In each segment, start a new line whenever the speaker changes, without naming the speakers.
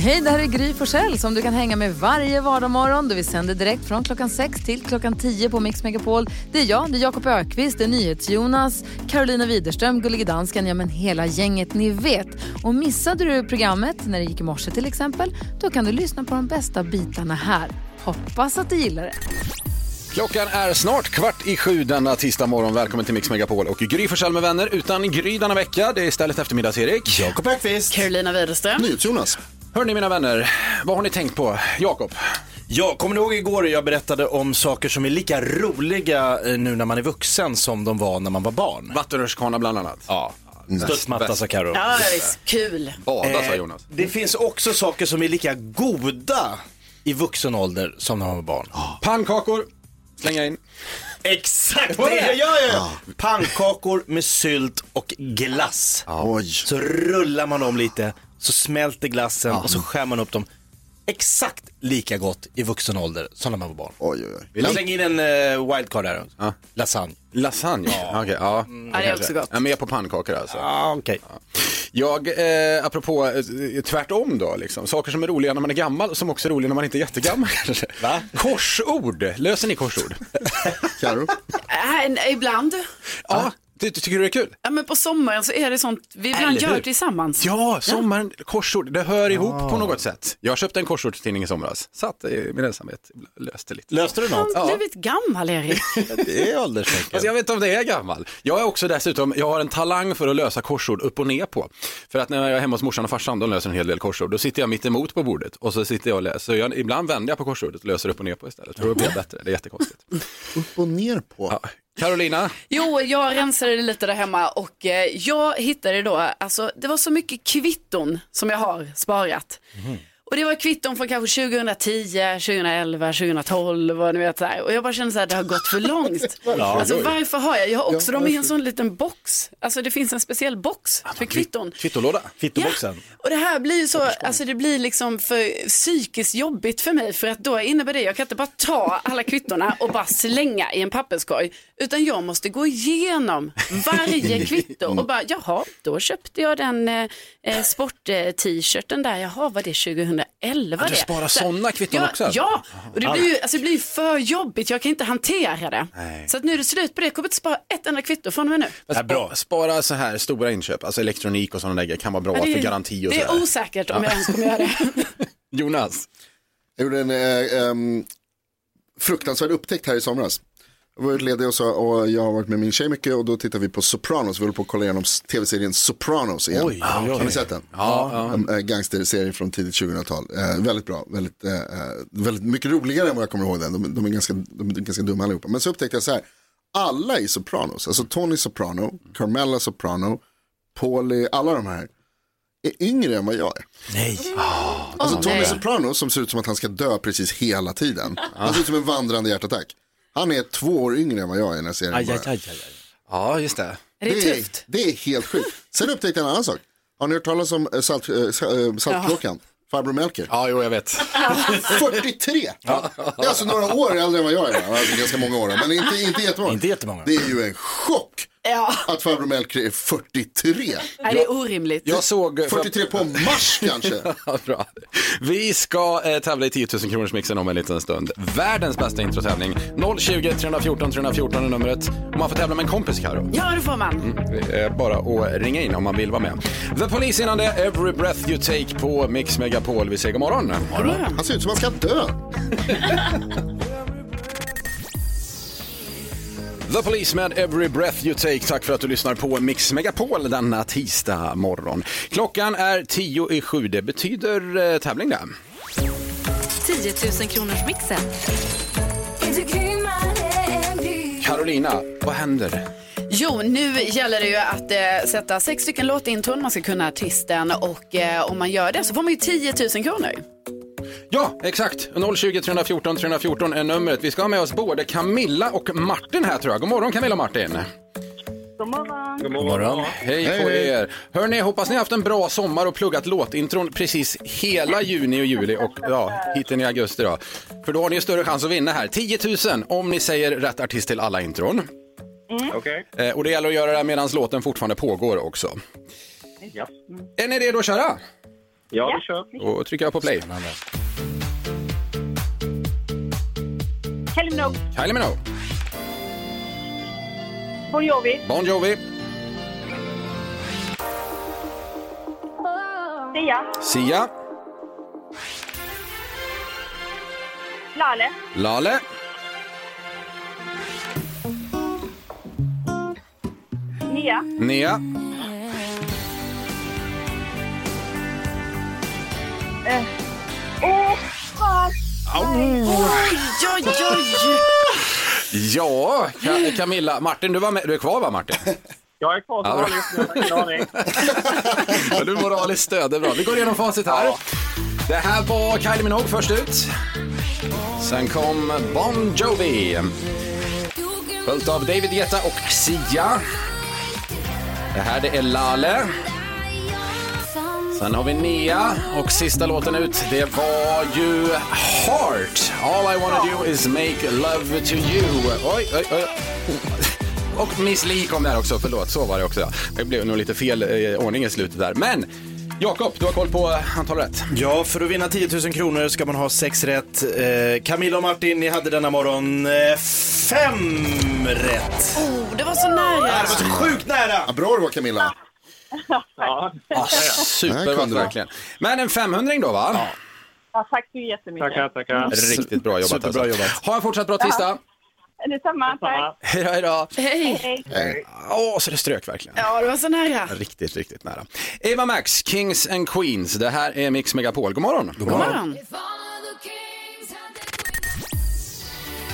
Hej, det här är Gry Forssell som du kan hänga med varje vardagsmorgon. Vi sänder direkt från klockan 6 till klockan 10 på Mix Megapol. Det är jag, det är Jakob Ökvist, det är NyhetsJonas, Carolina Widerström, Gullige Dansken, ja men hela gänget ni vet. Och missade du programmet när det gick i morse till exempel, då kan du lyssna på de bästa bitarna här. Hoppas att du gillar det.
Klockan är snart kvart i sju denna tisdag morgon. Välkommen till Mix Megapol och Gry Forssell med vänner. Utan Gry denna vecka, det är istället eftermiddags-Erik.
Jakob Ekqvist.
Carolina Widerström.
Jonas.
Hörni mina vänner, vad har ni tänkt på? Jakob?
Ja, kommer ni ihåg igår jag berättade om saker som är lika roliga eh, nu när man är vuxen som de var när man var barn?
Vattenrutschkana bland annat.
Ja. Störtmatta sa Carro.
Ja, visst. Kul.
Bada sa
Eh,
Jonas.
Det finns också saker som är lika goda i vuxen ålder som när man var barn.
Pannkakor, slänga in.
Exakt det jag gör jag! Pannkakor med sylt och glass. Så rullar man dem lite, så smälter glassen och så skär man upp dem. Exakt lika gott i vuxen ålder som när man var barn.
Oj, oj, oj.
Jag slänger in en eh, wildcard här. Lasagne.
Lasagne? Ja. Okej, ja.
Ja, det är också gott.
Jag är med på pannkakor alltså.
Ah, okej.
Jag, eh, apropå eh, tvärtom då, liksom. saker som är roliga när man är gammal som också är roliga när man inte är jättegammal kanske.
Va?
Korsord, löser ni korsord?
Karo?
Äh, en- ibland.
ja, ty, ty, tycker du det är kul?
Ja, men på sommaren så är det sånt vi ibland
Eller hur?
gör tillsammans.
Ja, sommaren, korsord, det hör ihop på något sätt. Jag köpte en korsordstidning i somras, satt i min ensamhet, löste lite.
Löste du något?
Du har blivit gammal, Erik.
Det är ålderstecken.
Alltså jag vet inte om det är gammal. Jag är också dessutom, jag har en talang för att lösa korsord upp och ner på. För att när jag är hemma hos morsan och farsan, de löser en hel del korsord, då sitter jag mitt emot på bordet och så sitter jag och läser. Så jag, ibland vänder jag på korsordet och löser upp och ner på istället. Då blir jag bättre, det är jättekonstigt.
Upp och ner på.
Ja. Carolina,
Jo, jag rensade det lite där hemma och eh, jag hittade då, alltså det var så mycket kvitton som jag har sparat.
Mhm.
Och det var kvitton från kanske 2010, 2011, 2012 och ni vet så här. Och jag bara kände så här, det har gått för långt. Alltså varför har jag? Jag har också dem i en sån liten box. Alltså det finns en speciell box för kvitton.
kvittolåda.
Fittoboxen.
Och det här blir ju så, alltså det blir liksom för psykiskt jobbigt för mig för att då innebär det, jag kan inte bara ta alla kvittorna och bara slänga i en papperskorg utan jag måste gå igenom varje kvitto och bara, jaha, då köpte jag den eh, eh, sport-t-shirten där, jaha, var det 2011
du
det?
sparar
Så-
sådana kvitton
ja,
också, alltså?
Ja, och det blir ju alltså det blir ju för jobbigt, jag kan inte hantera det. Så att nu är det slut på det, jag kommer inte spara ett enda kvitto från och med nu.
Spa-
bra.
Spara så här stora inköp, alltså elektronik och sådana där grejer kan vara bra
Ja, det är-
för garanti och
Det är
sådär.
osäkert om jag ens kommer göra det.
Jonas,
Jag gjorde en eh, em, fruktansvärd upptäckt här i somras. Jag var utledig och, så, och jag har varit med min tjej mycket och då tittar vi på Sopranos. Vi håller på att kolla igenom s- tv-serien Sopranos igen.
Oj, oj,
Har
oj.
ni sett den?
Ja,
En eh, gangsterserie från tidigt 2000-tal. Eh, väldigt bra, väldigt, eh, eh, väldigt mycket roligare än vad jag kommer ihåg den. De, de, är ganska, de är ganska dumma allihopa. Men så upptäckte jag så här, alla i Sopranos, alltså Tony Soprano, Carmella Soprano, Paulie, alla de här är yngre än vad jag är.
Nej.
Alltså Tony Soprano som ser ut som att han ska dö precis hela tiden. Han ser ut som en vandrande hjärtattack. Han är två år yngre än vad jag är i den här serien.
Aj, aj,
bara.
aj, aj, aj.
ja just det.
Det är
Det, är,
tufft.
det är helt sjukt. Sen upptäckte jag en annan sak. Har ni hört talas om eh, salt, eh, sa- eh, Saltkråkan? Farbror Melker.
Ja, jo jag vet.
43! Det är alltså några år äldre än vad jag är. Alltså, ganska många år, men inte, inte jättemånga.
Inte jättemånga.
Det är ju en chock
Ja.
att farbror Melker är 43.
Nej, det är orimligt.
Jag såg...
43 på mars kanske.
Ja, bra. Vi ska eh, tävla i 10 000 kronors mixen om en liten stund. Världens bästa introtävling. 020 314 314 är numret. Och man får tävla med en kompis Karo.
Ja, det får man.
Det är bara att ringa in om man vill vara med. The Police innan det, Every Breath You Take på Mix Megapol. Vi säger god morgon.
Han ser ut som att han ska dö.
The Police med Every Breath You Take. Tack för att du lyssnar på Mix Megapol denna tisdag morgon. Klockan är 10 i sju. Det betyder eh, tävling det.
10 000 kronors mixen.
Carolina, vad händer?
Jo, nu gäller det ju att eh, sätta sex stycken låtintron, man ska kunna artisten och eh, om man gör det så får man ju 10 000 kronor.
Ja, exakt. 020 314 314 är numret. Vi ska ha med oss både Camilla och Martin här tror jag. God morgon Camilla och Martin.
God morgon.
God morgon.
Hej på er! Hörni, hoppas ni har haft en bra sommar och pluggat låtintron precis hela juni och juli och ja, hitten i augusti då. För då har ni ju större chans att vinna här. 10 000 om ni säger rätt artist till alla intron.
Okej.
Eh, och det gäller att göra det här medan låten fortfarande pågår också.
Ja.
Är ni redo att köra?
Ja, vi kör.
Då trycker jag på play.
Hello Minogue,
Kylie Minogue,
Bon Jovi,
Bon Jovi,
Sia,
Sia,
Lale,
Lale,
Nia,
Nea,
Oj, oj, oj.
ja, Ka- Camilla, Martin, du, var med. du är kvar va Martin?
Jag är kvar som
bra.
vanligt, jag har ingen aning.
Ja, Du moraliskt stöder bra. Vi går igenom facit här. Det här var Kylie Minogue först ut. Sen kom Bon Jovi. Följt av David Guetta och Sia. Det här det är Lale. Sen har vi Nia och sista låten ut det var ju Heart. All I wanna do is make love to you. Oj, oj, oj. Och Miss Li kom där också, förlåt, så var det också. Det blev nog lite fel eh, ordning i slutet där. Men Jakob, du har koll på eh, antal rätt.
Ja, för att vinna 10 000 kronor ska man ha sex rätt. Eh, Camilla och Martin, ni hade denna morgon eh, fem rätt.
Oh, det var så nära.
Det var så sjukt nära!
Ja, bra det var Camilla.
Ja.
Ah,
Det här
Supervass
kunde du.
verkligen. Men en 500 då va?
Ja, tack så jättemycket.
Tackar, tackar.
Riktigt bra jobbat. alltså.
Superbra jobbat.
Ha en fortsatt bra tisdag.
Detsamma, tack.
Hej då, hej då.
Hej.
Nej.
Åh, så det strök verkligen.
Ja, det var så nära.
Riktigt, riktigt nära. Eva Max, Kings and Queens. Det här är Mix Megapol. God morgon.
God morgon.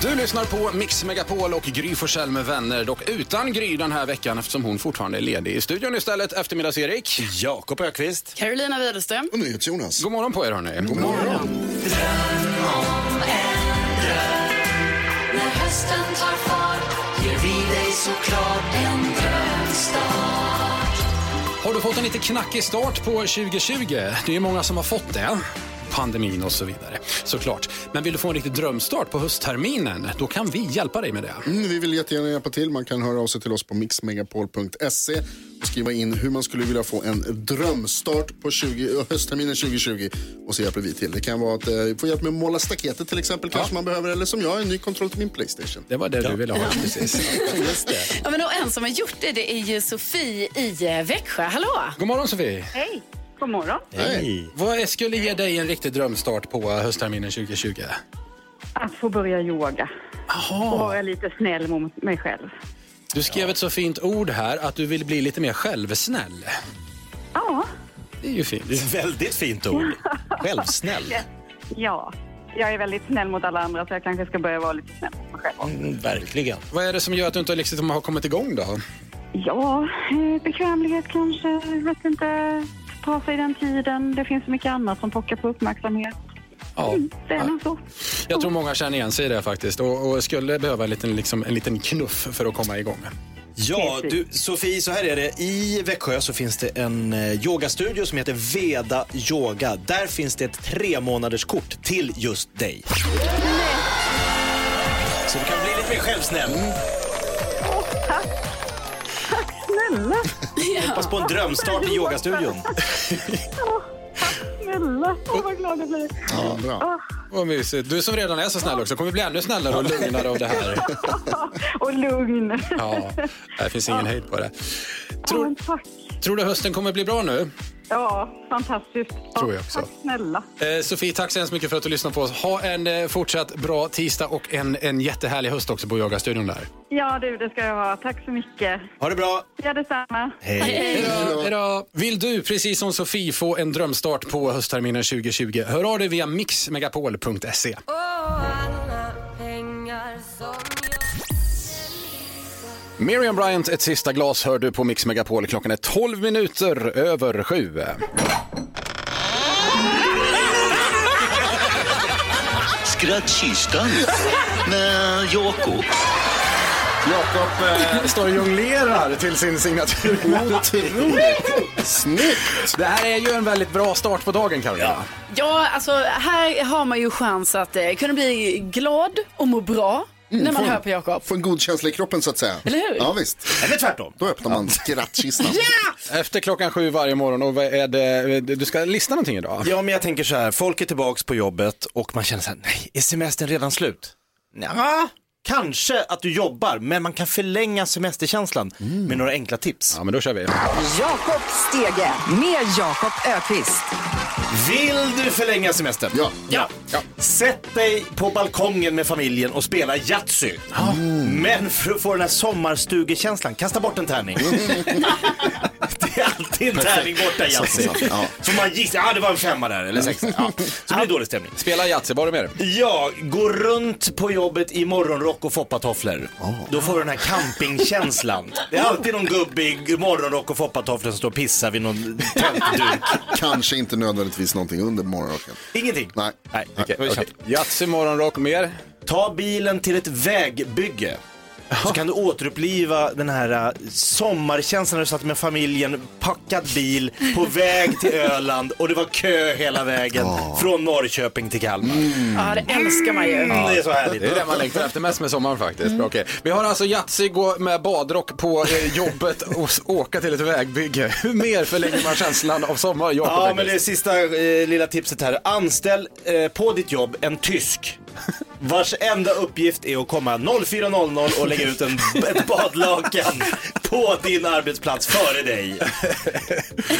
Du lyssnar på Mix Megapol och Gry Forssell med vänner. Dock utan Gry den här veckan eftersom hon fortfarande är ledig. I studion istället, eftermiddags-Erik.
Jakob Ökvist.
Carolina Widerström.
Och NyhetsJonas.
God morgon på er hörni. God morgon. Har du fått en lite knackig start på 2020? Det är ju många som har fått det. Pandemin och så vidare, såklart. Men vill du få en riktig drömstart på höstterminen? Då kan vi hjälpa dig med det.
Mm, vi vill jättegärna hjälpa till. Man kan höra av sig till oss på mixmegapol.se och skriva in hur man skulle vilja få en drömstart på 20, höstterminen 2020. Och så hjälper vi till. Det kan vara att eh, få hjälp med att måla staketet till exempel. Kanske man behöver. Eller som jag, en ny kontroll till min Playstation.
Det var det du ville ha, precis.
Ja, men och en som har gjort det, det är ju Sofie i eh, Växjö. Hallå!
God morgon Sofie.
Hej, god morgon.
Hej.
Vad skulle ge dig en riktig drömstart på höstterminen 2020?
Att få börja yoga och
Jaha,
vara lite snäll mot mig själv.
du skrev ett så fint ord här att du vill bli lite mer självsnäll.
Ja,
Det är ju fint.
Väldigt fint ord. Självsnäll.
ja. Jag är väldigt snäll mot alla andra så jag kanske ska börja vara lite snäll mot mig själv.
Mm, verkligen.
Vad är det som gör att du inte liksom har kommit igång då?
Ja, eh, bekvämlighet kanske. Jag vet inte. Ta sig den tiden. Det finns så mycket annat som pockar på uppmärksamhet.
Ja.
Mm, det är nog så.
Jag tror många känner igen sig i det faktiskt och, och skulle behöva en liten, liksom, en liten knuff för att komma igång.
Ja, du, Sofie, så här är det. I Växjö så finns det en eh, yogastudio som heter Veda Yoga. Där finns det ett tre månaders kort till just dig. Så du kan bli lite mer självsnäll.
Snälla,
Hoppas på en drömstart i yogastudion.
snälla. Åh, vad glad jag blir.
Ja, bra.
Vad mysigt. Du som redan är så snäll också kommer bli ännu snällare och lugnare av det här.
Och lugn.
Ja, det finns ingen hejd på det.
Ja,
Tror,
men tack.
tror du hösten kommer bli bra nu?
Ja, fantastiskt. Ja,
Tror jag också.
Tack snälla.
Eh, Sofie, tack så hemskt mycket för att du lyssnade på oss. Ha en eh, fortsatt bra tisdag och en, en jättehärlig höst också på Yogastudion där.
Ja, du, det ska jag ha. Tack så mycket.
Ha det bra.
Ja, detsamma.
Hejdå, hejdå. Vill du, precis som Sofie, få en drömstart på höstterminen 2020? Hör av dig via mixmegapol.se. Miriam Bryant, ett sista glas hör du på Mix Megapol. Klockan är 12 minuter över sju.
Eh,
Skrattkistan med Jakob.
Jakob eh, står och jonglerar till sin signatur. Otroligt. Snyggt.
Det här är ju en väldigt bra start på dagen Karolina.
Ja, alltså här har man ju chans att eh, kunna bli glad och må bra
Mm.
när man
får-
hör på Jakob.
Får en god känsla i kroppen så att säga.
Eller hur?
Ja visst.
Eller tvärtom.
Då öppnar man skrattkistan.
Efter klockan sju varje morgon och vad är det, du ska lista någonting idag?
Ja, men jag tänker så här, folk är tillbaks på jobbet och man känner så här, nej, är semestern redan slut? Nja, kanske att du jobbar, men man kan förlänga semesterkänslan med några enkla tips.
Ja men då kör vi.
Jakob Stege med Jakob Ökvist.
Vill du förlänga semestern?
Ja.
ja. Sätt dig på balkongen med familjen och spela Yatzy. Men för att få den här sommarstugekänslan, kasta bort en tärning. det är alltid en tärning borta i Yatzy.
Sant, sant, ja.
Mm. Så man gissar, ja det var en femma där eller sexa. Ja. Så blir det dålig stämning.
Spela Yatzy, vad har du med dig?
Ja, gå runt på jobbet i morgonrock och foppatofflor. Då får du den här campingkänslan. Det är alltid någon gubbe i morgonrock och foppatofflor som står och pissar vid någon tältduk.
Kanske inte nödvändigtvis någonting under morgonrocken.
Ingenting.
Nej.
Nej.
Okej,
Okej.
okej. Yatzy, morgonrock, mer?
Ta bilen till ett vägbygge. Så kan du återuppliva den här eh, sommarkänslan när du satt med familjen, packad bil, på väg till Öland och det var kö hela vägen från Norrköping till Kalmar.
Mm.
Mm,
Ja, det älskar man ju.
Det är så härligt.
Det är det man längtar efter mest med sommaren faktiskt. Bra, okej. Vi har alltså Yatzy, gå med badrock på eh, jobbet och s- åka till ett vägbygge. Hur mer förlänger man känslan av sommar? Jakob,
Ja,
tänker
men
jag.
det sista eh, lilla tipset här. Anställ eh, på ditt jobb en tysk vars enda uppgift är att komma 04.00 och lägga ut en, ett badlakan på din arbetsplats före dig.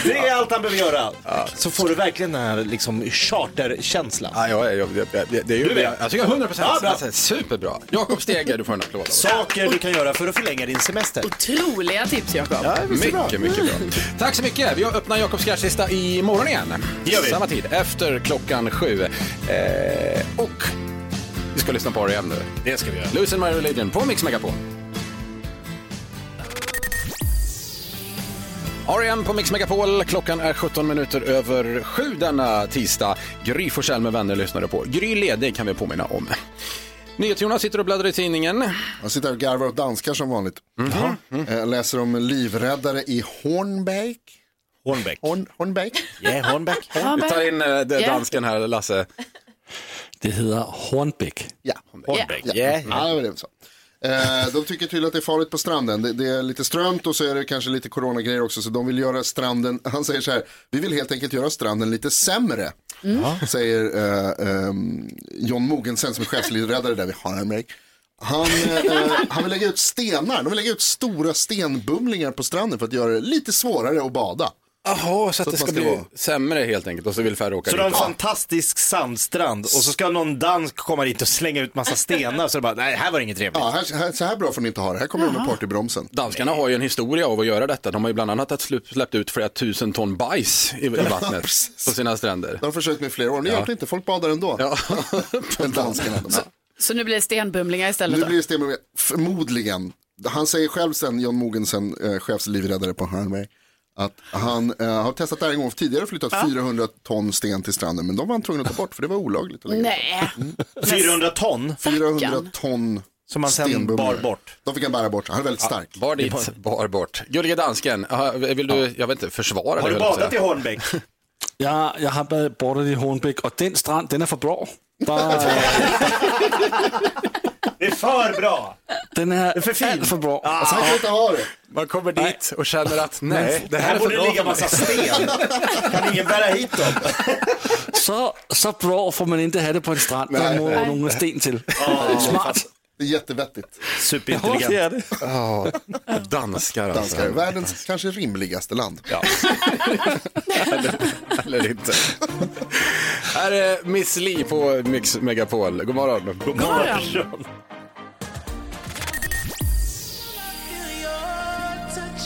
Det är allt han behöver göra. Så får du verkligen den här liksom, charterkänslan.
Ja, ja, ja, ja, ja, det är ju,
Du vet.
jag tycker 100 procent.
Ja, bra.
superbra. Jakob Steger, du får en applåd. av oss.
Saker du kan göra för att förlänga din semester.
Otroliga tips Jakob.
Mycket, mycket bra. Tack så mycket. Vi öppnar Jakobs skrattlista imorgon igen.
Det gör vi.
Samma tid, efter klockan sju. Eh, och vi ska lyssna på R.E.M. nu.
Det ska vi göra.
Losing My Religion på Mix Megapol. R.E.M. E på Mix Megapol. Klockan är 17 minuter över sju denna tisdag. Gry Forssell med vänner lyssnade på. Gry ledig kan vi påminna om. NyhetsJonas sitter och bläddrar i tidningen.
Jag sitter här och garvar åt danskar som vanligt. Eh, Jag läser om livräddare i Hornbæk.
Hornbeck.
Horn, Hornbæk.
Yeah, Hornbeck.
Ja,
Vi
men-
tar in eh, det-
Ja.
dansken här, Lasse.
Det hedder Hornbæk.
Ja,
Hornbeck.
Ja,
Yeah.
ja det är väl så. Eh, de tycker tydligen att det är farligt på stranden. Det, det är lite strömt och så är det kanske lite coronagrejer också. Så de vill göra stranden, han säger så här, vi vill helt enkelt göra stranden lite sämre. Säger eh, eh, John Mogensen som är chefslivräddare där vid Harmrake. Han, eh, han vill lägga ut stenar, de vill lägga ut stora stenbumlingar på stranden för att göra det lite svårare att bada.
Jaha, så att det
man
ska
ska
bli
vara-
sämre helt enkelt och så vill färre åka
Så det är en
dit.
fantastisk sandstrand och så ska någon dansk komma dit och slänga ut massa stenar så det bara, nej här var det inget trevligt.
Ja, här, här, så här bra får ni inte ha det, här kommer de med partybromsen.
Danskarna har ju en historia av att göra detta. De har ju bland annat att slu- släppt ut flera tusen ton bajs i, i vattnet på
precis.
sina stränder.
De har försökt med i flera år, men det hjälpte inte, folk badar ändå.
Ja.
Danskarna. de här.
Så nu blir det stenbumlingar istället
Nu
då?
blir det Stenberg, förmodligen. Han säger själv sen, John Mogensen, eh, chefslivräddare på Hörnberg, att han eh, har testat det här en gång tidigare och flyttat 400 ton sten till stranden, men de var han tvungen att ta bort för det var olagligt. Att lägga ut.
Nej.
400 ton
400
stackarn.
ton
som man sen
stenbumlor.
bar bort.
De fick han bära bort, han är väldigt stark.
Bar dit, bar bort. Gullige dansken, aha, vill du, jag vet inte, försvara
Har
dig, höll
du
jag på att
badat i
säga.
Hornbäck?
Jeg, jeg har været bortet i Hornbæk, og den strand, den er for blå. Der,
Det är för bra!
den er
er for fin.
alt for blå.
Så Alltså, han kan inte ha det.
Man kommer dit och känner att nej, det här
Här
är för
borde det
bra
ligga
för mig.
massa sten. Kan ingen bära hit dem?
Så, så blå får man ikke have det på en strand. Der må nogle sten til. Smart.
Det är jättevettigt.
Ja, det
Superintelligent.
er det.
Danskar alltså.
Danskar, världens kanske rimligaste land.
Eller inte. Här är Miss Li på Mix Megapol. God morgon. God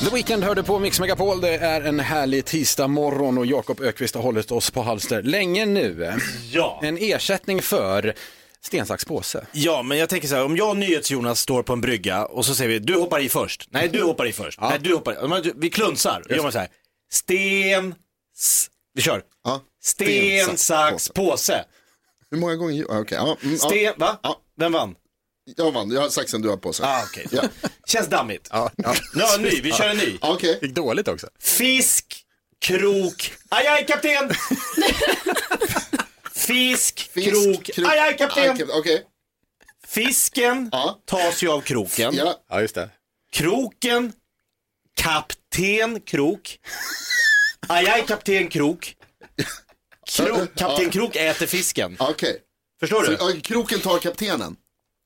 The Weeknd hörde på Mix Megapol. Det är en härlig tisdag morgon och Jakob Ökvist har hållit oss på halster länge nu.
Ja.
En ersättning för sten, sax, påse.
ja, men jag tänker så här, om jag och NyhetsJonas står på en brygga och så säger vi, du hoppar i först. Nej, du hoppar i först. Nej, du hoppar i. Men Vi klunsar. Då gör man så här, sten, s- vi kör.
Ja.
Sten, sax, påse.
Hur många gånger? Ja, Okej, ja, mm, ja.
Sten, va?
Ja.
Vem vann?
Jag vann, jag har saxen du har på sig. Ah,
Känns dammigt.
Ja, ja.
Nu har jag en ny, vi kör en ny.
Ja, Ah, Okej.
Gick dåligt också.
Fisk, krok, aj aj kapten! Fisk,
Fisk,
krok,
krok,
aj aj kapten!
aj, Okej. Ah.
Fisken tas ju av kroken.
Ja.
Ja, just det.
Kroken, kapten krok. Aj aj kapten krok. krok kapten krok äter fisken.
ah, Okej.
Förstår du?
Så, ja, Kroken tar kaptenen.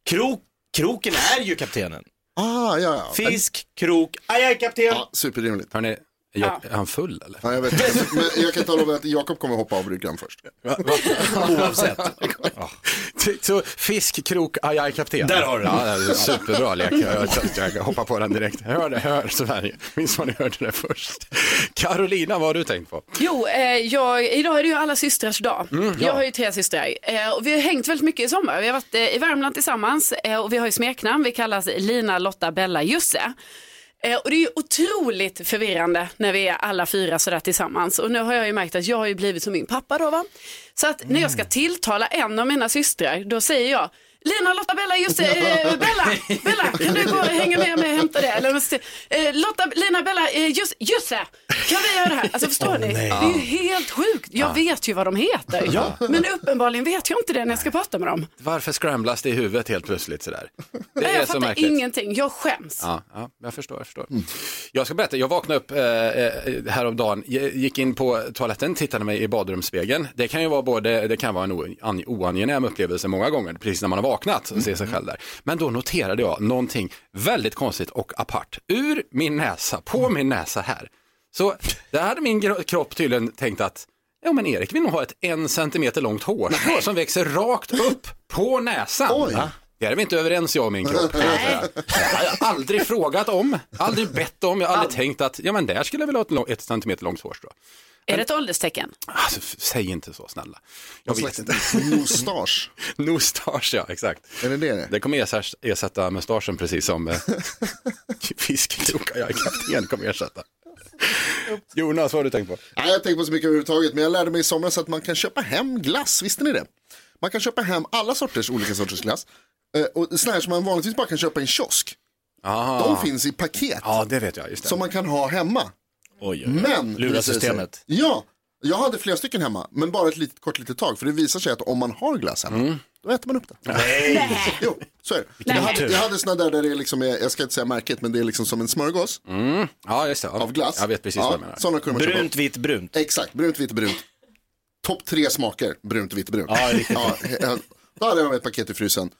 Krok, kroken är ju kaptenen.
Ah, ja, ja.
Fisk, krok, aj aj kapten!
Ja, superrimligt.
Hörrni, jag, är han full eller?
Ja, jag, vet. Men jag kan tala om att Jakob kommer hoppa av bryggan först.
Oavsett.
Ty- Så fisk, krok, aj, aj, kapten.
Där har du den.
ja, det. är Superbra lek. Jag, jag, jag hoppar på den direkt. Hör det, hör Sverige. Minns vad ni hörde det först. Carolina, vad har du tänkt på?
Jo, eh, jag, idag är det ju alla systrars dag.
Mm,
Jag har ju tre systrar eh, och vi har hängt väldigt mycket i sommar. Vi har varit eh, i Värmland tillsammans eh, och vi har ju smeknamn. Vi kallas Lina, Lotta, Bella, Jusse. Eh, och det är ju otroligt förvirrande när vi är alla fyra sådär tillsammans. Och nu har jag ju märkt att jag har ju blivit som min pappa då va. Så att när
Mm.
jag ska tilltala en av mina systrar, då säger jag Lina, Lotta, Bella, just det, eh, Bella, Bella, kan du gå och hänga med mig och hämta det? Eller, måste- eh, Lotta, Lina, Bella, eh, just, just det, kan vi göra det här? Alltså förstår ni? Det är ju helt sjukt. Jag vet ju vad de heter, men uppenbarligen vet jag inte det när jag ska prata med dem.
Varför scramblas det i huvudet helt plötsligt sådär? Det
Nej, jag fattar ingenting, jag skäms.
Ja, ja, jag förstår. Jag, förstår. jag ska berätta, jag vaknade upp eh, eh, häromdagen, Jag gick in på toaletten, tittade mig i badrumsspegeln. Det kan ju vara både, det kan vara en o- an- oangenäm upplevelse många gånger, precis när man har vaknat och ser sig själv där. Men då noterade jag någonting väldigt konstigt och apart. Ur min näsa, på min näsa här. Så där hade min gro- kropp tydligen tänkt att Ja men Erik vill nog ha ett en centimeter långt hårstrå som växer rakt upp på näsan.
Oj.
Va? Det är vi inte överens jag och min kropp. Jag har aldrig frågat om, aldrig bett om, jag har aldrig tänkt att ja men där skulle jag vilja ha ett, lång, ett centimeter långt hårstrå.
Är det ett ålderstecken?
Alltså, f- säg inte så snälla. Jag
Någon
vet
slags
inte.
mustasch.
Mustasch ja, exakt.
Är det det?
Det kommer ersätta, ersätta mustaschen precis som eh, fiskkrokar jag är kapten kommer ersätta. Jonas, vad har du tänkt på?
Nej, jag tänker på så mycket överhuvudtaget, men jag lärde mig i somras att man kan köpa hem glass, visste ni det? Man kan köpa hem alla sorters olika sorters glass. Eh, Och sådana här som man vanligtvis bara kan köpa i en kiosk. De
Ah.
finns i paket
Ah. Ja, det vet jag, just det.
som man kan ha hemma.
Oj,
Men,
Lura systemet.
Ja, jag hade flera stycken hemma, men bara ett litet, kort litet tag. För det visar sig att om man har glass hemma,
Mm.
då äter man upp det. Nej. Jo, så är det. Jag hade, jag hade sådana där, där det liksom är, jag ska inte säga märket, men det är liksom som en smörgås
Mm.
Ja, just det. Ja.
av glass.
Jag vet precis
ja,
vad du menar.
Sådana kunde man köpa.
Brunt, vitt, brunt.
Exakt, brunt, vitt, brunt. Topp tre smaker, brunt, vitt, brunt.
Ja, riktigt.
Ja, eh, då hade jag ett paket i frysen,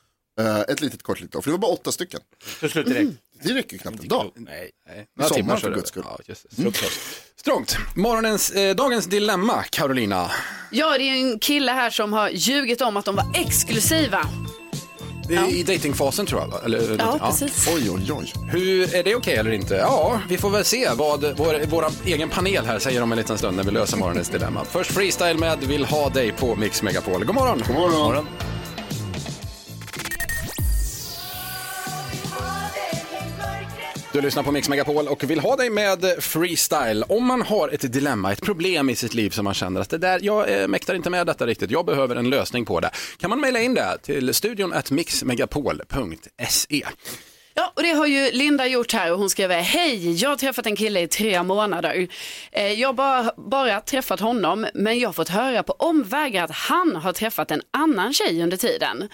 Eh, ett litet kort litet, för det var bara åtta stycken. Mm,
Så slut direkt.
Det räcker ju knappt en dag.
Nej.
Nej, några
Sommar
timmar
för
så
guds
det.
skull.
Ja, just det. Frukost. Mm. Strångt. Morgonens, eh, dagens dilemma, Carolina.
Ja, det är ju en kille här som har ljugit om att de var exklusiva.
Det är I datingfasen tror jag, va? eller,
Ja, precis.
Oj, oj, oj.
Hur, är det okej eller inte? Ja, vi får väl se vad vår, vår egen panel här säger om en liten stund när vi löser morgonens dilemma. Först freestyle med Vill ha dig på Mix Megapol. God morgon!
God morgon.
Du lyssnar på Mix Megapol och vill ha dig med freestyle. Om man har ett dilemma, ett problem i sitt liv som man känner att det där, jag eh, mäktar inte med detta riktigt, jag behöver en lösning på det. Kan man mejla in det till studion at mixmegapol.se.
Ja, och det har ju Linda gjort här och hon skriver Hej, jag har träffat en kille i tre månader. Eh, Jag har bara, bara träffat honom men jag har fått höra på omvägar att han har träffat en annan tjej under tiden.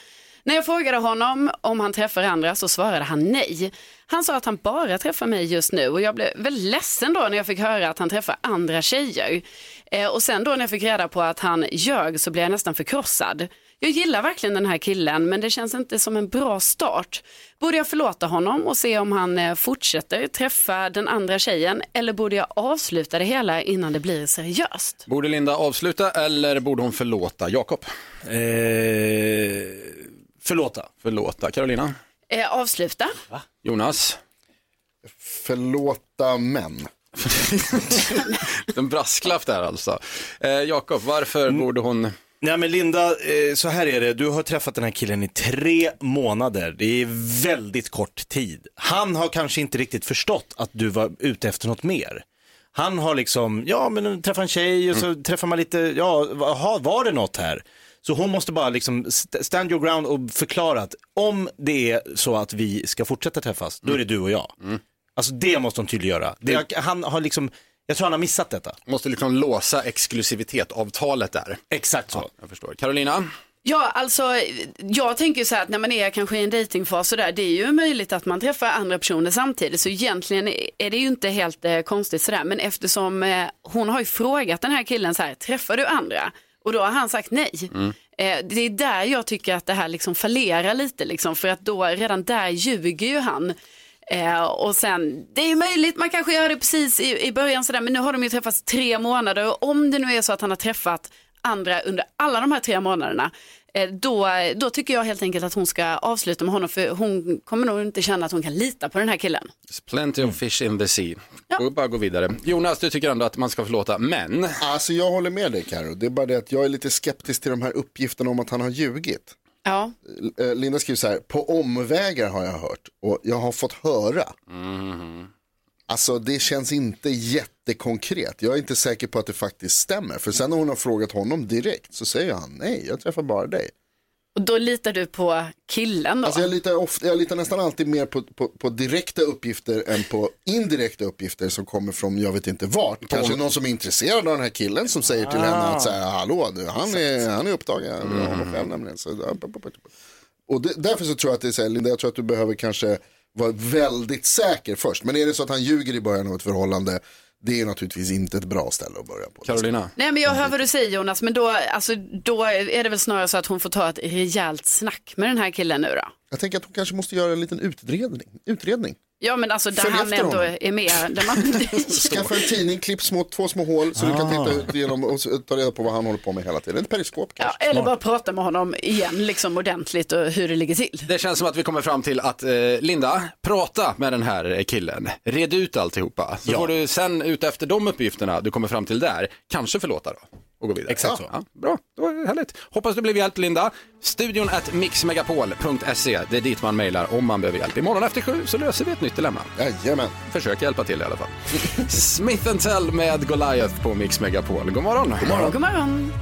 När jag frågade honom om han träffar andra så svarade han nej. Han sa att han bara träffar mig just nu och jag blev väldigt ledsen då när jag fick höra att han träffar andra tjejer. Eh, och sen då när jag fick reda på att han ljög så blev jag nästan förkrossad. Jag gillar verkligen den här killen men det känns inte som en bra start. Borde jag förlåta honom och se om han eh, fortsätter träffa den andra tjejen eller borde jag avsluta det hela innan det blir seriöst?
Borde Linda avsluta eller borde hon förlåta? Jakob?
Eh, förlåta.
Förlåta. Carolina?
Eh, avsluta?
Jonas?
Förlåta män.
En brasklapp där alltså. Eh, Jakob, varför borde hon...
Nej men Linda, eh, så här är det. Du har träffat den här killen i tre månader. Det är väldigt kort tid. Han har kanske inte riktigt förstått att du var ute efter något mer. Mm. Han har liksom, ja men träffa en tjej och så träffar man lite, ja, jaha, var det något här? Så hon måste bara liksom st- stand your ground och förklara att om det är så att vi ska fortsätta träffas, då är det du och jag. Alltså det måste hon tydliggöra. Mm. Det, han har liksom, jag tror han har missat detta.
Måste liksom låsa exklusivitetsavtalet där.
Exakt så.
jag förstår. Carolina?
Ja, alltså jag tänker ju så här att när man är kanske i en dejtingfas och där, det är ju möjligt att man träffar andra personer samtidigt. Så egentligen är det ju inte helt eh, konstigt sådär. Men eftersom eh, hon har ju frågat den här killen så här, träffar du andra? Och då har han sagt nej. Eh, det är där jag tycker att det här liksom fallerar lite liksom. För att då, redan där ljuger ju han. Eh, och sen, det är ju möjligt, man kanske gör det precis i, i början sådär, men nu har de ju träffats tre månader och om det nu är så att han har träffat andra under alla de här tre månaderna, eh, då, då tycker jag helt enkelt att hon ska avsluta med honom för hon kommer nog inte känna att hon kan lita på den här killen.
Plenty of fish in the sea. Ja. Bara gå vidare. Jonas, du tycker ändå att man ska förlåta, men...
Alltså jag håller med dig Karo. det är bara det att jag är lite skeptisk till de här uppgifterna om att han har ljugit.
Ja.
Eh, Linda skriver så här, på omvägar har jag hört och jag har fått höra. Alltså det känns inte jättekonkret. Jag är inte säker på att det faktiskt stämmer. För sen när hon har frågat honom direkt så säger han nej, jag träffar bara dig.
Och då litar du på killen då?
Alltså jag, litar ofta, jag litar nästan alltid mer på, på, på direkta uppgifter än på indirekta uppgifter som kommer från jag vet inte vart. Kanske någon som är intresserad av den här killen som säger till henne att så här, hallå du, han är, han är upptagen, jag vill ha honom själv nämligen. Så, och det, därför så tror jag att det är så här, Linda, jag tror att du behöver kanske vara väldigt säker först. Men är det så att han ljuger i början av ett förhållande, det är naturligtvis inte ett bra ställe att börja på.
Carolina?
Nej men jag hör vad du säger Jonas, men då, alltså, då är det väl snarare så att hon får ta ett rejält snack med den här killen nu då?
Jag tänker att hon kanske måste göra en liten utredning. utredning.
Ja men alltså där
Följ
han
efter
ändå
honom.
är med, där man
Skaffa en tidning, klipp små, två små hål så du kan
Ah.
titta ut genom och så- ta reda på vad han håller på med hela tiden. Ett periskop kanske.
Eller bara prata med honom igen liksom ordentligt och hur det ligger till.
Det känns som att vi kommer fram till att eh, Linda, prata med den här eh, killen. Red ut alltihopa. Så får du sen ut efter de uppgifterna du kommer fram till där, kanske förlåta då. Och gå vidare.
Exakt så.
ja, Bra, då är det härligt. Hoppas du blev hjälpt Linda. Studion at mixmegapol.se, det är dit man mejlar om man behöver hjälp. Imorgon efter sju så löser vi ett nytt dilemma.
Jajamän.
Försök hjälpa till i alla fall. Smith Tell med Goliath på Mix Megapol. God morgon. God
God morgon.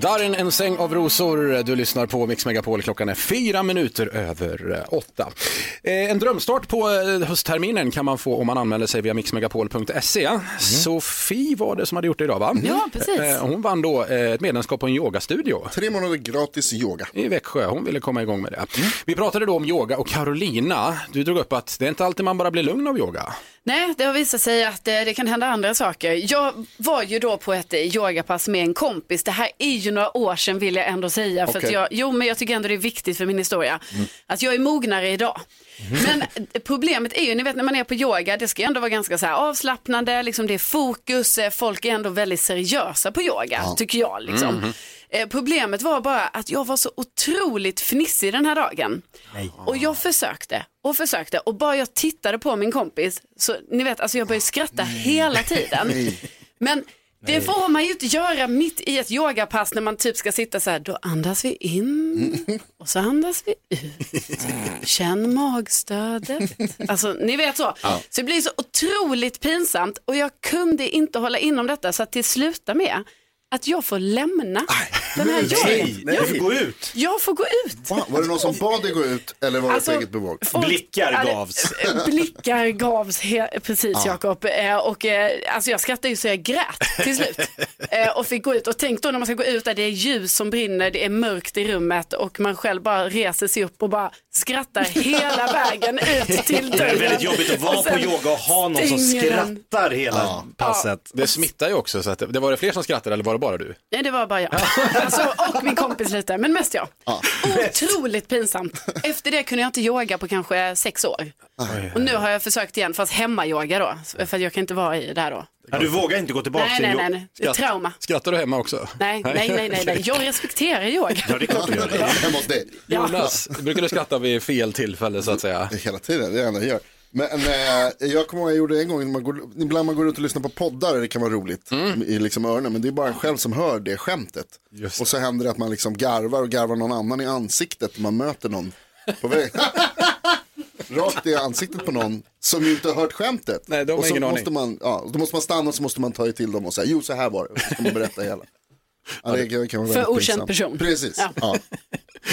Darin, en säng av rosor. Du lyssnar på Mix Megapol. Klockan är fyra minuter över eh, åtta. Eh, En drömstart på eh, höstterminen kan man få om man anmäler sig via mixmegapol.se. Sofie var det som hade gjort det idag, va?
Mm. Ja, precis.
Eh, Hon vann då eh, ett medlemskap på en yogastudio
Tre månader gratis yoga.
i Växjö. Hon ville komma igång med det.
Mm.
Vi pratade då om yoga och Carolina, du drog upp att det är inte alltid man bara blir lugn av yoga.
Nej, det har visat sig att eh, det kan hända andra saker. Jag var ju då på ett eh, yogapass med en kompis. Det här är ju några år sedan vill jag ändå säga. För att
Okej.
jag, jo, men jag tycker ändå det är viktigt för min historia. Att jag är mognare idag. Men eh, problemet är ju, ni vet när man är på yoga, det ska ju ändå vara ganska så här avslappnande, liksom det är fokus, eh, folk är ändå väldigt seriösa på yoga, tycker jag. Liksom. Eh, Problemet var bara att jag var så otroligt fnissig den här dagen. Och jag försökte och försökte och bara jag tittade på min kompis så ni vet, alltså jag började skratta hela tiden. Men det får man ju inte göra mitt i ett yogapass när man typ ska sitta så här, då andas vi in och så andas vi ut. Känn magstödet. Alltså ni vet så. Så det blir så otroligt pinsamt och jag kunde inte hålla inom detta så att till sluta med att jag får lämna den här yogan.
Nej, du får gå ut.
Jag får gå ut.
Fan, var det någon som bad dig gå ut eller var det
Alltså,
på eget bevåg?
folk-
Blickar
Ja, det-
gavs.
Blickar gavs, he- precis Jakob. Eh, Och eh, alltså jag skrattade ju så jag grät till slut. Eh, Och fick gå ut. Och tänk då när man ska gå ut där det är ljus som brinner, det är mörkt i rummet och man själv bara reser sig upp och bara skrattar hela vägen ut till dörren.
Det är väldigt jobbigt att vara
Och
på
sen
yoga och ha någon som
stänger den.
skrattar hela passet.
Det smittar ju också, så att, det var det fler som skrattade eller var det bara du?
Nej, det var bara jag. Alltså, och min kompis lite, men mest jag. Otroligt pinsamt. Efter det kunde jag inte yoga på kanske sex år. Och nu har jag försökt igen, fast hemmayoga då. För att jag kan inte vara i det här då.
Ja, du vågar inte gå tillbaka
Nej,
till
nej,
yoga.
nej, nej. Det är trauma.
Skrattar du hemma också?
Nej, nej, nej, nej, nej. Jag respekterar yoga.
Ja, det är klart du gör det.
Hemma hos dig.
Jonas, brukar du skratta vid fel tillfälle så att säga?
Det är Hela tiden, det är det enda jag gör. Men eh, jag kommer ihåg jag gjorde en gång, när man går, ibland man går runt och lyssnar på poddar och det kan vara roligt
Mm.
i liksom öronen, men det är bara en själv som hör det skämtet. Och så händer det att man liksom garvar och garvar någon annan i ansiktet när man möter någon på vägen. rakt i ansiktet på någon som ju inte har hört skämtet.
Nej, de har
och så
ingen aning.
måste man, ja, då måste man stanna och så måste man ta till dem och säga, jo så här var det. Så ska man berätta hela. Ja, det kan, kan vara
För
väldigt
okänd
pinsamt.
person.
Precis,
Ja.
ja.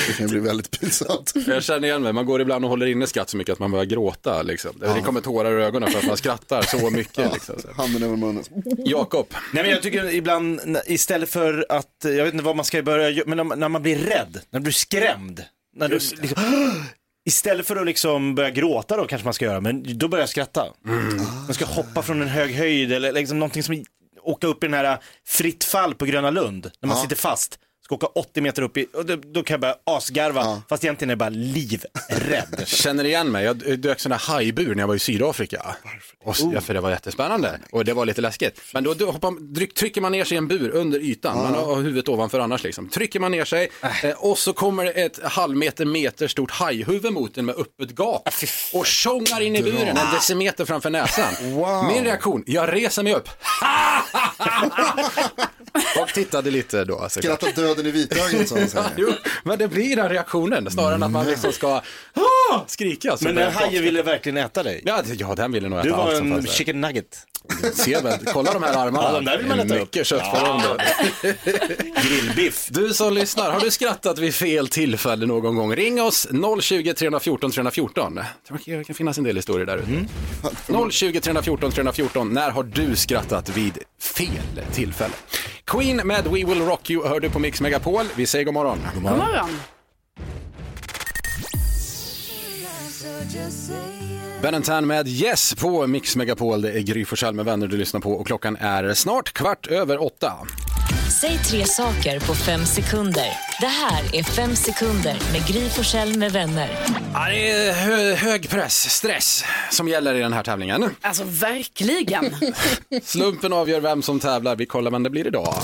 det kan ju bli väldigt pinsamt.
Jag känner igen mig, man går ibland och håller inne skratt så mycket att man börjar gråta. Liksom. Det kommer tårar ur ögonen för att man skrattar så mycket. Liksom. Så.
Handen över munnen.
Jakob.
Nej men jag tycker ibland, n- istället för att, jag vet inte vad man ska börja göra, men när man, när man blir rädd, när man blir skrämd. När du, liksom, istället för att liksom börja gråta då kanske man ska göra, men då börjar jag skratta.
Mm.
Man ska hoppa från en hög höjd eller liksom någonting som, åka upp i den här äh, fritt fall på Gröna Lund, när man
Ja.
sitter fast. Ska åka 80 meter upp i, och då, då kan jag börja asgarva, fast egentligen är jag bara livrädd.
Känner igen mig, jag dök sån där hajbur när jag var i Sydafrika. Och, ja, för det var jättespännande och det var lite läskigt. Men då då hoppar, dryck, trycker man ner sig i en bur under ytan, man har huvudet ovanför annars liksom. Trycker man ner sig eh, och så kommer det ett halvmeter, meter stort hajhuvud mot en med öppet gap. Och tjongar in i buren en decimeter framför näsan. Min reaktion, jag reser mig upp. och tittade lite då. såklart.
Skratta döden i vitögat som man
Ja,
säger.
jo, men det blir den reaktionen snarare än att man liksom ska ah, skrika. så
Men
blir
den
det
hajen ville verkligen äta dig.
Ja, det- ja, alltså, den ville nog
Du
äta
var
allt som
en
fanns där.
chicken nugget.
Se väl, kolla de här armarna.
Ja, de där vill man
Det är
äta upp.
Mycket kött på dem. då.
Grillbiff.
Du som lyssnar, har du skrattat vid fel tillfälle någon gång? Ring oss 020 314 314. Jag tror Det kan finnas en del historier där
Mm.
ute. 020 314 314. När har du skrattat vid fel tillfälle? Queen med We Will Rock You hör du på Mix Megapol. Vi säger god morgon. God
God morgon.
Ben Tan med Yes på Mix Megapol. Det är Gry Forssell med vänner du lyssnar på och klockan är snart kvart över åtta.
Säg tre saker på fem sekunder. Det här är Fem sekunder med Gry Forssell med vänner.
Ja, det är hö- hög press, stress som gäller i den här tävlingen.
Alltså verkligen.
Slumpen avgör vem som tävlar. Vi kollar vem det blir idag.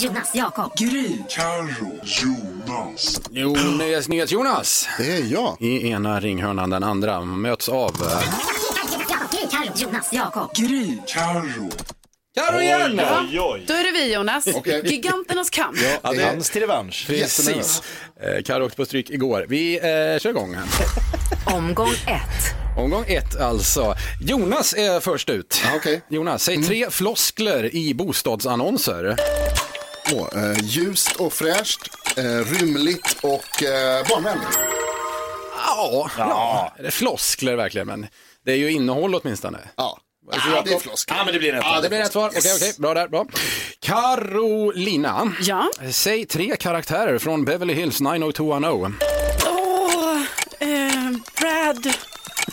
Jonas, Jakob.
Gry.
Jo, nyhets, nyhets Jonas.
Det är jag.
I ena ringhörnan, den andra möts av... eh,
Jonas, Jakob.
Gry.
Carro igen!
Då är det vi Jonas. Giganternas kamp.
Ja, det-
Dans till revansch.
Precis. Eh, Carro åkte på stryk igår. Vi eh, kör igång.
Omgång ett.
Omgång ett alltså. Jonas är först ut.
Ja, okej.
Jonas, säg tre floskler i bostadsannonser.
Åh, eh, ljust och fräscht, eh, rymligt och eh, barnvänligt.
Ja, ja. Är det floskler verkligen? Men det är ju innehåll åtminstone.
Ja, ah, det är flosk.
Ja, men det blir rätt.
Ja, det blir rätt svar. Okej, okej, bra där. Bra. Carolina,
Ja.
säg tre karaktärer från Beverly Hills 90210.
Åh, eh, Brad,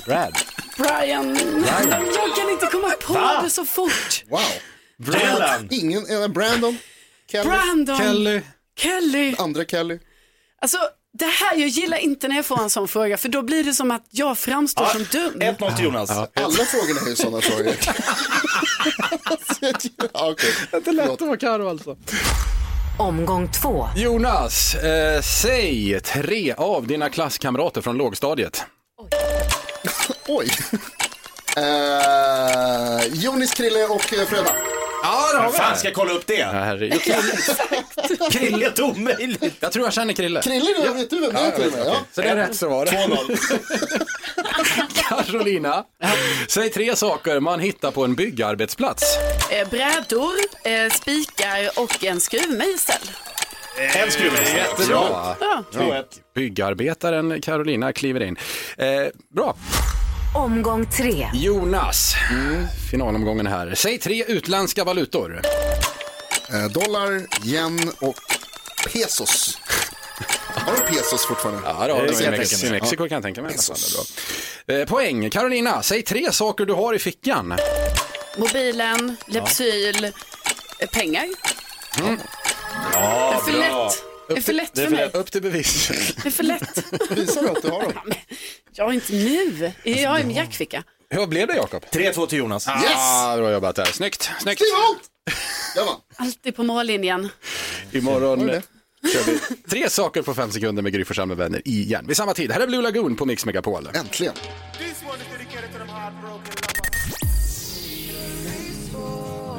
Brad.
Brian. Jag kan inte komma på det så fort.
Wow.
Brandon.
Ingen, eh, Brandon, Kelly,
Brandon,
Kelly.
Kelly.
andra Kelly.
Alltså, det här, jag gillar inte när jag får en sån fråga för då blir det som att jag framstår som dum.
1-0 till Jonas.
Alla frågorna är ju sådana frågor. ja, okay.
Det lät att vara Carro alltså.
Omgång två.
Jonas, eh, säg tre av dina klasskamrater från lågstadiet.
Oj. Eh, Jonis, Krille och eh, Fröda.
Ja, det har
Vad fan ska jag kolla upp det?
Herregud.
Krille. Helt omöjligt.
Jag tror jag känner Krille.
Krille, då, vet du vem det är till och med? Ja.
Så det är rätt så var det.
2-0.
Carolina, säg tre saker man hittar på en byggarbetsplats.
Eh, brädor, eh, spikar och en skruvmejsel.
En skruvmejsel.
Bra.
Ja.
Byggarbetaren Carolina kliver in. Eh, bra.
Omgång tre.
Jonas, Mm. finalomgången här. Säg tre utländska valutor.
Eh, dollar, yen och pesos. Har de pesos fortfarande?
Ja, det har
det
de
kan
i
jag
Mex-
tänka
i
mig.
Mexiko kan jag tänka mig. i alla fall. Det är Bra. Eh, poäng. Carolina, säg tre saker du har i fickan.
Mobilen, Lepsyl, eh, pengar. Mm. det är för lätt. Det är för lätt för mig.
Upp till bevis.
Det är för lätt.
Visa då att du har dem.
Jag är inte nu. Jag har en jackficka.
Hur blev det Jakob?
3-2 till Jonas.
Ah, bra jobbat där. Snyggt, snyggt.
Steve Holt! Jag vann.
Alltid på mållinjen.
Imorgon
Var det
kör vi tre saker på fem sekunder med Gry Forssell med vänner igen. Vid samma tid. Här är Blue Lagoon på Mix Megapol.
Äntligen.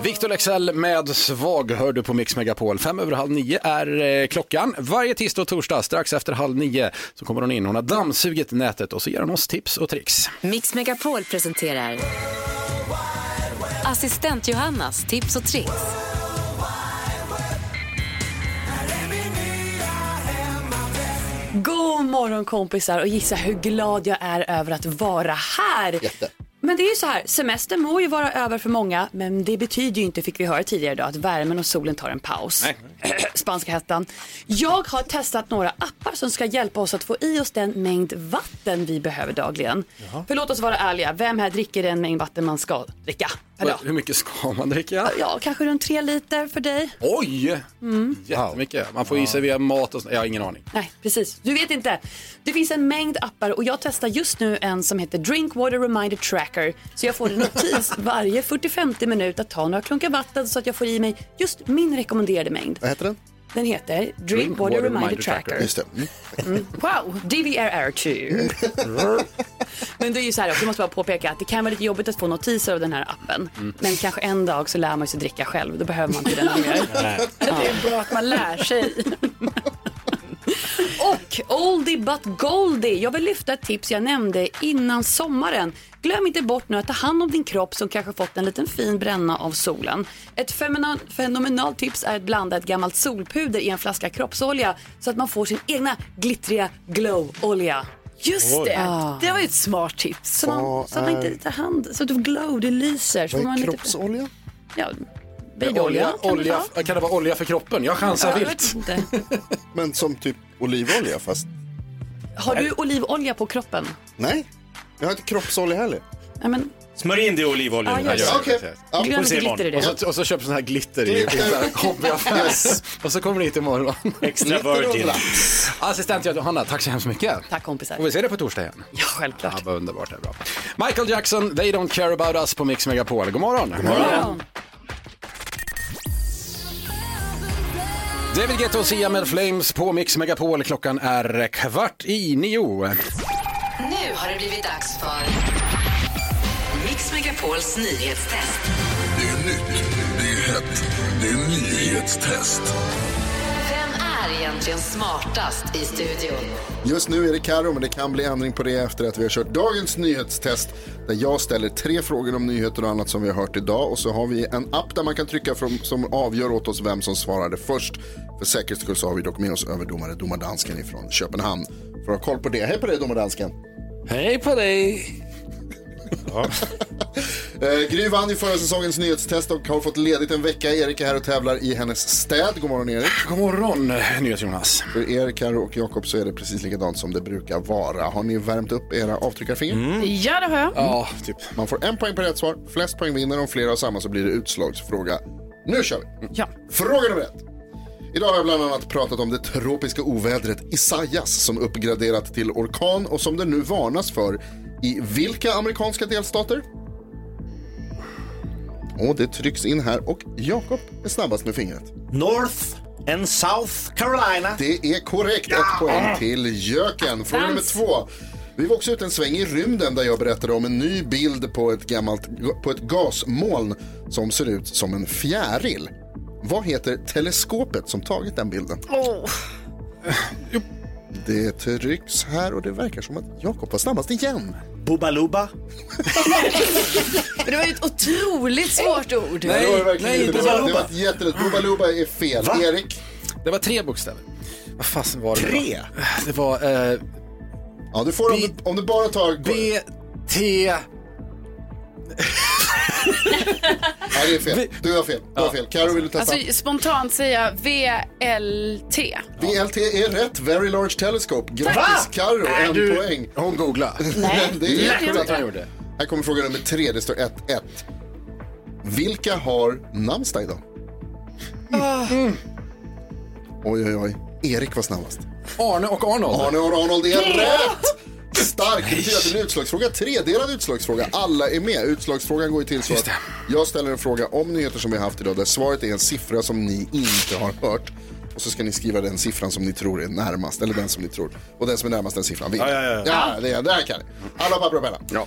Victor Lexell med Svag hör du på Mix Megapol. Fem över halv nio är eh, klockan. Varje tisdag och torsdag strax efter halv nio så kommer hon in. Hon har dammsugit nätet och så ger hon oss tips och tricks.
Mix Megapol presenterar Assistent Johannas tips och tricks.
God morgon kompisar och gissa hur glad jag är över att vara här.
Jätte.
Men det är ju så här, semester må ju vara över för många, men det betyder ju inte, fick vi höra tidigare idag, att värmen och solen tar en paus. Spanska hettan. Jag har testat några appar som ska hjälpa oss att få i oss den mängd vatten vi behöver dagligen. För låt oss vara ärliga, vem här dricker den mängd vatten man ska dricka per dag?
Hur mycket ska man dricka?
Ja, kanske runt tre liter för dig.
Oj! Jättemycket. Man får i sig via mat och sånt. Jag har ingen aning.
Nej, precis. Du vet inte. Det finns en mängd appar och jag testar just nu en som heter Drinkwater Reminder Tracker. Så jag får en notis varje 40-50 minut att ta några klunkar vatten så att jag får i mig just min rekommenderade mängd.
Vad heter den?
Den heter Drinkwater Reminder, Tracker.
Just det. Mm.
Mm. Wow, DVRR2. Men det är ju så här, också, jag måste bara påpeka att det kan vara lite jobbigt att få notiser av den här appen.
Mm.
Men kanske en dag så lär man sig dricka själv, då behöver man inte den mer.
Det är bra att man lär sig.
Och Oldie but Goldie. Jag vill lyfta ett tips jag nämnde innan sommaren. Glöm inte bort nu att ta hand om din kropp som kanske fått en liten fin bränna av solen. Ett femina- fenomenalt tips är att blanda ett gammalt solpuder i en flaska kroppsolja så att man får sin egna glittriga glow-olja.
Just det.
Ah.
Det var ju ett smart tips.
Så, man, så att man inte tar hand, så att du glow, det lyser. Så
Vad är
får man lite-
kroppsolja?
Ja,
Olja,
babyolja kan det
olja,
vara.
kan det vara olja för kroppen? Jag chansar
Ja, jag
vilt.
vet inte.
Men som typ olivolja fast...
Har du olivolja på kroppen?
Nej, jag har inte kroppsolja heller.
Nej, men
Smörj in det i olivolja.
Ja, just det. Okej. Ja, Glöm
Får se
inte
imorgon.
glitter i det.
Och så, och så köper sån här glitter i
Glitter.
så här hobbyaffär. Och så kommer ni hit imorgon.
Extra virgin.
Assistent Johanna, tack så hemskt mycket.
Tack kompisar.
Och vi ser dig på torsdag igen.
Ja, självklart.
Ja, vad underbart, det är bra. Michael Jackson, They Don't Care About Us på Mix Megapol. God morgon. God
morgon.
David Guetta och Sia med Flames på Mix Megapol. Klockan är kvart i nio.
Nu har det blivit dags för Mix Megapols nyhetstest.
Det är nytt, det är hett, det är nyhetstest.
Vem är egentligen smartast i studion?
Just nu är det Karo, men det kan bli ändring på det efter att vi har kört dagens nyhetstest där jag ställer tre frågor om nyheter och annat som vi har hört idag och så har vi en app där man kan trycka från, som avgör åt oss vem som svarade först. För säkerhets skull så har vi dock med oss överdomare Domardansken ifrån Köpenhamn för att ha koll på det. Hej på dig Domardansken!
Hej på dig!
Eh, Gry vann ju förra säsongens nyhetstest och har fått ledigt en vecka. Erik är här och tävlar i hennes städ. God morgon Erik.
God morgon NyhetsJonas.
För er Karo och Jakob så är det precis likadant som det brukar vara. Har ni värmt upp era avtryckarfinger?
Ja, det har jag.
Ja, typ.
Man får en poäng per rätt svar. Flest poäng vinner. Om flera har samma så blir det utslagsfråga. Nu kör vi!
Ja.
Fråga nummer ett. Idag har jag bland annat pratat om det tropiska ovädret Isaias som uppgraderat till orkan och som det nu varnas för i vilka amerikanska delstater? Och det trycks in här och Jakob är snabbast med fingret.
North and South Carolina.
Det är korrekt. Ett poäng till Jöken. Fråga nummer två. Vi var också ute en sväng i rymden där jag berättade om en ny bild på ett gammalt på ett gasmoln som ser ut som en fjäril. Vad heter teleskopet som tagit den bilden?
Oh.
Det trycks här och det verkar som att Jakob var snabbast igen.
Bobaluba.
Men det var ju ett otroligt svårt ord.
Nej, det var det verkligen inte. Det var, det var ett jätterätt. Bobaluba är fel.
Va?
Erik?
Det var tre bokstäver. Vad fasen var det?
Tre?
Det var... Eh,
ja, du får om du, om du bara tar...
B, T...
Nej, det är fel. Du har fel. Du har fel. Karo, vill du testa?
Alltså spontant säga VLT.
VLT är rätt. Very Large Telescope. Grattis
Va?
Carro,
Nej,
en
du-
poäng.
Hon googla.
Nej,
det
det
är
gjorde jag
korrekt.
inte. Jag gjorde.
Här kommer fråga nummer tre. Det står 1-1. Vilka har namnsdag idag? Oj, oj, oj. Erik var snabbast.
Arne och Arnold.
Arne och Arnold är
Ja!
rätt! Starkt. Det betyder att det blir utslagsfråga. Tredelad utslagsfråga. Alla är med. Utslagsfrågan går ju till så att jag ställer en fråga om nyheter som vi har haft idag där svaret är en siffra som ni inte har hört. Och så ska ni skriva den siffran som ni tror är närmast, eller den som ni tror. Och den som är närmast den siffran vinner.
Ja, ja, ja.
det är där kan ni. Alla papper och penna.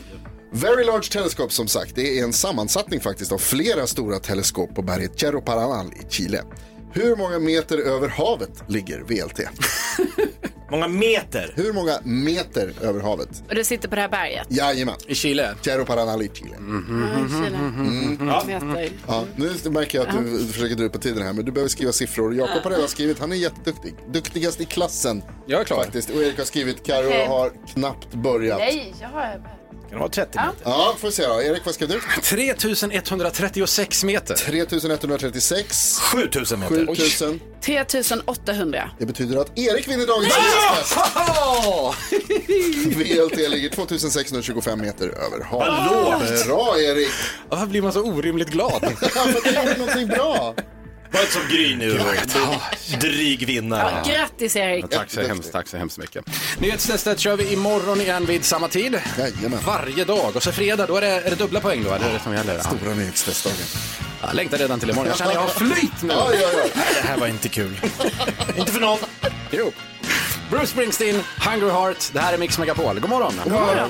Very Large Telescope som sagt, det är en sammansättning faktiskt av flera stora teleskop på berget Cerro Paranal i Chile. Hur många meter över havet ligger VLT?
många meter?
Hur många meter över havet?
Och du sitter på det här berget?
Jajamän.
I Mm. Chile?
Cerro Paranal i Chile.
Mm-hmm.
Ja.
Mm.
Meter.
Ja, nu märker jag att du försöker dra ut på tiden här, men du behöver skriva siffror. Jakob har redan skrivit, han är jätteduktig. Duktigast i klassen.
Jag är klar.
Faktiskt. Och Erik har skrivit, Karo
Okej.
har knappt börjat.
Nej, jag har...
Kan det vara 30
Ja.
Ja, får vi se då. Erik, vad skrev du?
3136 meter.
3136.
7000
meter. 7000.
3800.
Det betyder att Erik vinner dagens test. VLT ligger 2625 meter över havet. Bra Erik!
Varför blir man så orimligt glad?
någonting bra.
Var inte som Gry nu. Dryg vinnare.
Grattis Erik!
Ja, tack, så hemskt, tack så hemskt mycket. Nyhetstestet kör vi imorgon igen vid samma tid. Varje dag. Och så fredag, då är det, är det dubbla poäng då, eller är det som gäller?
Stora nyhetstestdagen.
Jag längtar redan till imorgon. Jag känner jag har flyt nu.
Ja, ja, ja.
Nej, det här var inte kul. inte för någon. Jo. Bruce Springsteen, Hungry Heart. Det här är Mix Megapol. God morgon.
God morgon.